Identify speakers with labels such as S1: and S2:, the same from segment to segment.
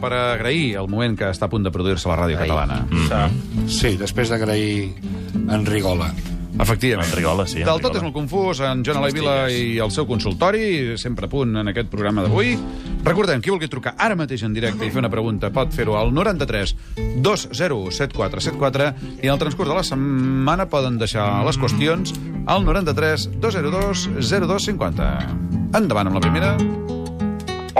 S1: per agrair el moment que està a punt de produir-se a la ràdio catalana.
S2: Mm.
S3: Sí, després d'agrair en Rigola.
S1: Efectivament.
S2: Enrigola, sí,
S1: Del tot
S2: Enrigola.
S1: és molt confús, en Joan Eloi Vila i el seu consultori, sempre a punt en aquest programa d'avui. Recordem, qui vulgui trucar ara mateix en directe i fer una pregunta pot fer-ho al 93 207474 i en el transcurs de la setmana poden deixar les qüestions al 93 202 0250. Endavant amb la primera.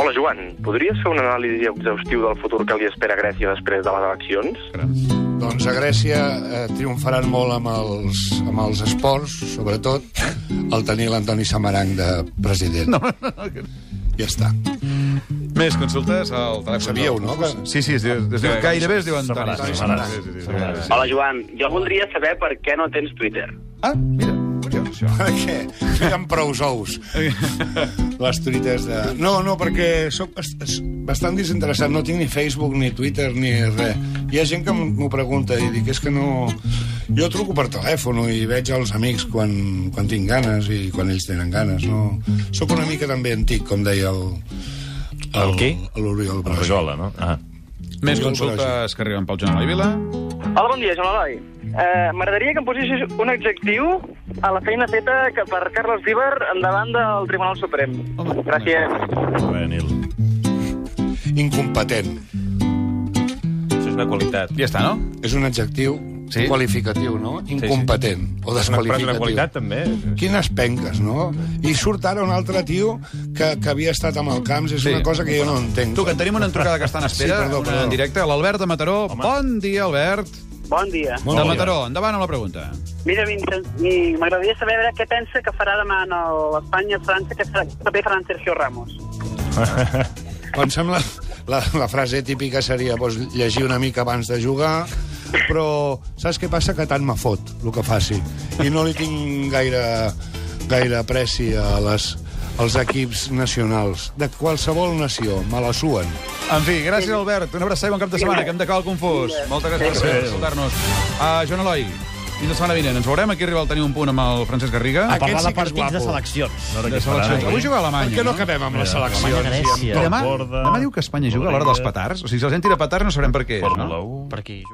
S4: Hola, Joan. Podries fer una anàlisi exhaustiu del futur que li espera a Grècia després de les eleccions?
S1: Caram.
S3: Doncs a Grècia eh, triomfaran molt amb els, amb els esports, sobretot, al tenir l'Antoni Samaranc de president.
S1: No, no, no.
S3: Ja està.
S1: Més consultes al telèfon.
S3: Ho sabíeu,
S1: del-
S3: no? Que-
S1: Sí, sí, es diu, es diu gairebé es diu Antoni.
S2: Samaranch,
S3: Samaranch.
S1: Sí, sí, sí, sí.
S4: Hola, Joan. Jo voldria saber per què no tens Twitter.
S1: Ah, mira, curiós, això.
S3: Per què? Hi ha prous ous. Les truites de... No, no, perquè sóc bast- es- bastant desinteressat. No tinc ni Facebook, ni Twitter, ni res. Hi ha gent que m'ho pregunta i dic, és que no... Jo truco per telèfon i veig els amics quan, quan tinc ganes i quan ells tenen ganes. No? Sóc una mica també antic, com deia el...
S2: El qui?
S3: L'Oriol Brasi.
S2: Enrigola, no? Ah.
S1: Més consultes que arriben pel Joan Eloi Vila.
S5: Hola, bon dia, Joan Eloi. Eh, M'agradaria que em posessis un adjectiu a la feina feta que per Carles Díber endavant del Tribunal Suprem.
S1: Home.
S5: Gràcies.
S2: Bé, Nil.
S3: Incompetent.
S6: Això és una qualitat.
S1: Ja està, no?
S3: És un adjectiu
S1: Sí?
S3: qualificatiu, no? Incompetent
S6: Però
S3: o
S6: és
S3: desqualificatiu.
S6: una qualitat, també.
S3: Quines penques, no? I surt ara un altre tio que, que havia estat amb el Camps. És
S1: Sí.
S3: sí. una cosa que jo no entenc.
S1: Tu, que en tenim una trucada que està en espera,
S3: Sí, perdó,
S1: una
S3: perdó.
S1: en directe, l'Albert de Mataró. Bon dia, Albert.
S5: Bon dia.
S3: Bon
S1: de
S3: dia.
S1: Mataró, endavant amb la pregunta.
S5: Mira, Vincent, i m'agradaria saber a veure què pensa que farà demà en l'Espanya-França, que serà que també farà en Sergio Ramos.
S3: Em sembla la, la frase típica seria doncs, llegir una mica abans de jugar, però saps què passa? Que tant me fot el que faci. I no li tinc gaire, gaire apreci a les, als equips nacionals. De qualsevol nació, me la suen.
S1: En fi, gràcies, Albert. Una abraçada i bon cap de setmana, que hem d'acabar el confús. Moltes gràcies per consultar-nos. Uh, Joan Eloi, fins la setmana vinent. Ens veurem aquí arriba al tenir un punt amb el Francesc Garriga.
S3: Aquest
S2: Parlar
S3: sí
S2: de
S3: que és
S2: partits de
S3: guapo.
S2: seleccions. No
S1: De seleccions. Avui juga a
S3: Per
S1: Alemanya,
S3: què no
S1: no?
S3: acabem amb la selecció?
S1: I
S2: Grècia.
S1: demà,
S2: Borda.
S1: demà diu que Espanya juga a l'hora dels petards. O sigui, si la gent tira petards no sabrem per què és, no?
S2: Fórmula 1.
S6: Per aquí.